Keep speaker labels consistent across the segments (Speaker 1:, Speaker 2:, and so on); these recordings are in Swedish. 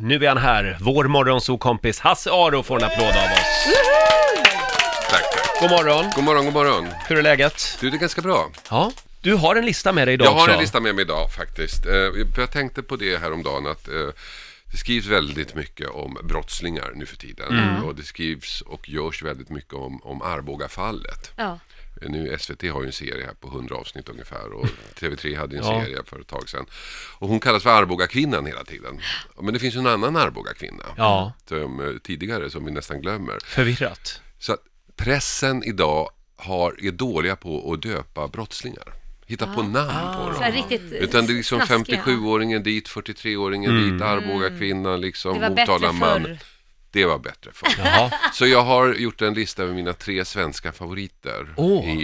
Speaker 1: Nu är han här, vår morgonsokompis Hasse Aro får en applåd av oss.
Speaker 2: Tack. tack.
Speaker 1: God morgon,
Speaker 2: God morgon, god morgon.
Speaker 1: hur är läget?
Speaker 2: Du, det är ganska bra.
Speaker 1: Ja, du har en lista med dig idag
Speaker 2: Jag har
Speaker 1: också.
Speaker 2: en lista med mig idag faktiskt. Eh, för Jag tänkte på det häromdagen att eh, det skrivs väldigt mycket om brottslingar nu för tiden.
Speaker 1: Mm.
Speaker 2: Och det skrivs och görs väldigt mycket om, om Arboga-fallet.
Speaker 3: Ja.
Speaker 2: Eh, Nu SVT har ju en serie här på 100 avsnitt ungefär och TV3 hade en
Speaker 1: Ja.
Speaker 2: serie för ett tag sedan. Och hon kallas för Arboga-kvinnan hela tiden. Men det finns ju en annan Arboga-kvinna.
Speaker 1: Ja.
Speaker 2: Som, eh, tidigare som vi nästan glömmer.
Speaker 1: Förvirrat.
Speaker 2: Så att pressen idag har, är dåliga på att döpa brottslingar. Hitta på namn på
Speaker 3: Ah. Så här
Speaker 2: dem.
Speaker 3: riktigt eh,
Speaker 2: Utan det är liksom
Speaker 3: snaskiga.
Speaker 2: 57-åringen dit, 43-åringen
Speaker 1: Mm.
Speaker 2: dit, Arboga kvinna, liksom,
Speaker 3: Det var bättre
Speaker 2: Motala man.
Speaker 3: förr.
Speaker 2: Det var bättre förr.
Speaker 1: Jaha.
Speaker 2: Så jag har gjort en lista över mina tre svenska favoriter
Speaker 1: Åh.
Speaker 2: i,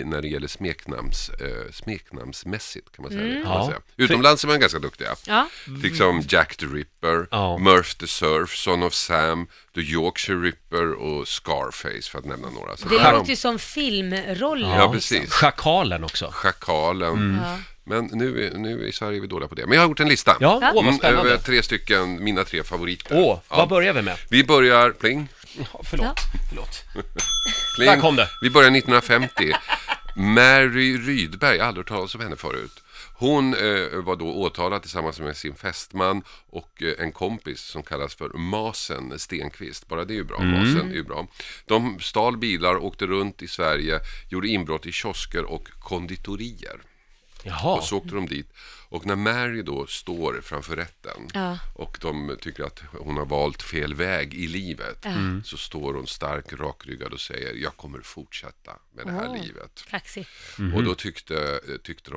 Speaker 2: i, när det gäller smeknamns, eh, smeknamnsmässigt kan man säga.
Speaker 3: Mm.
Speaker 2: det, Kan
Speaker 1: Ja.
Speaker 2: man säga. Utomlands är man ganska duktiga.
Speaker 3: Ja.
Speaker 2: Liksom Jack the Ripper,
Speaker 1: Mm. Ja.
Speaker 2: Murph the Surf, Son of Sam, The Yorkshire Ripper och Scarface för att nämna några. Så
Speaker 3: Det
Speaker 2: där har
Speaker 3: låter ju som filmroller.
Speaker 2: Ja,
Speaker 3: liksom.
Speaker 2: precis.
Speaker 1: Schakalen också.
Speaker 2: Schakalen.
Speaker 1: Mm.
Speaker 3: Ja.
Speaker 2: Men nu, är- nu i Sverige är vi dåliga på det. Men jag har gjort en lista.
Speaker 1: Ja,
Speaker 3: Ja.
Speaker 1: åh vad
Speaker 2: Mm, över
Speaker 1: spännande.
Speaker 2: tre stycken, mina tre favoriter.
Speaker 1: Åh,
Speaker 2: Ja.
Speaker 1: vad börjar vi med?
Speaker 2: Vi börjar, pling,
Speaker 1: Ja, förlåt, förlåt.
Speaker 2: pling.
Speaker 1: Där kom det.
Speaker 2: Vi börjar 1950. Mary Rydberg, jag har aldrig hört talas om henne förut. Hon eh, var då åtalad tillsammans med sin fästman och eh, en kompis som kallas för Masen Stenqvist. Bara det är ju bra.
Speaker 1: Mm.
Speaker 2: Masen är ju bra. De stal bilar, åkte runt i Sverige, gjorde inbrott i kiosker och konditorier.
Speaker 1: Jaha,
Speaker 2: Och så åkte de dit. Och när Mary då står framför rätten
Speaker 3: Ja.
Speaker 2: och de tycker att hon har valt fel väg i livet så står hon stark, rakryggad och säger jag kommer fortsätta med det här
Speaker 3: Oh.
Speaker 2: livet.
Speaker 3: Kaxigt.
Speaker 2: Och då tyckte, tyckte de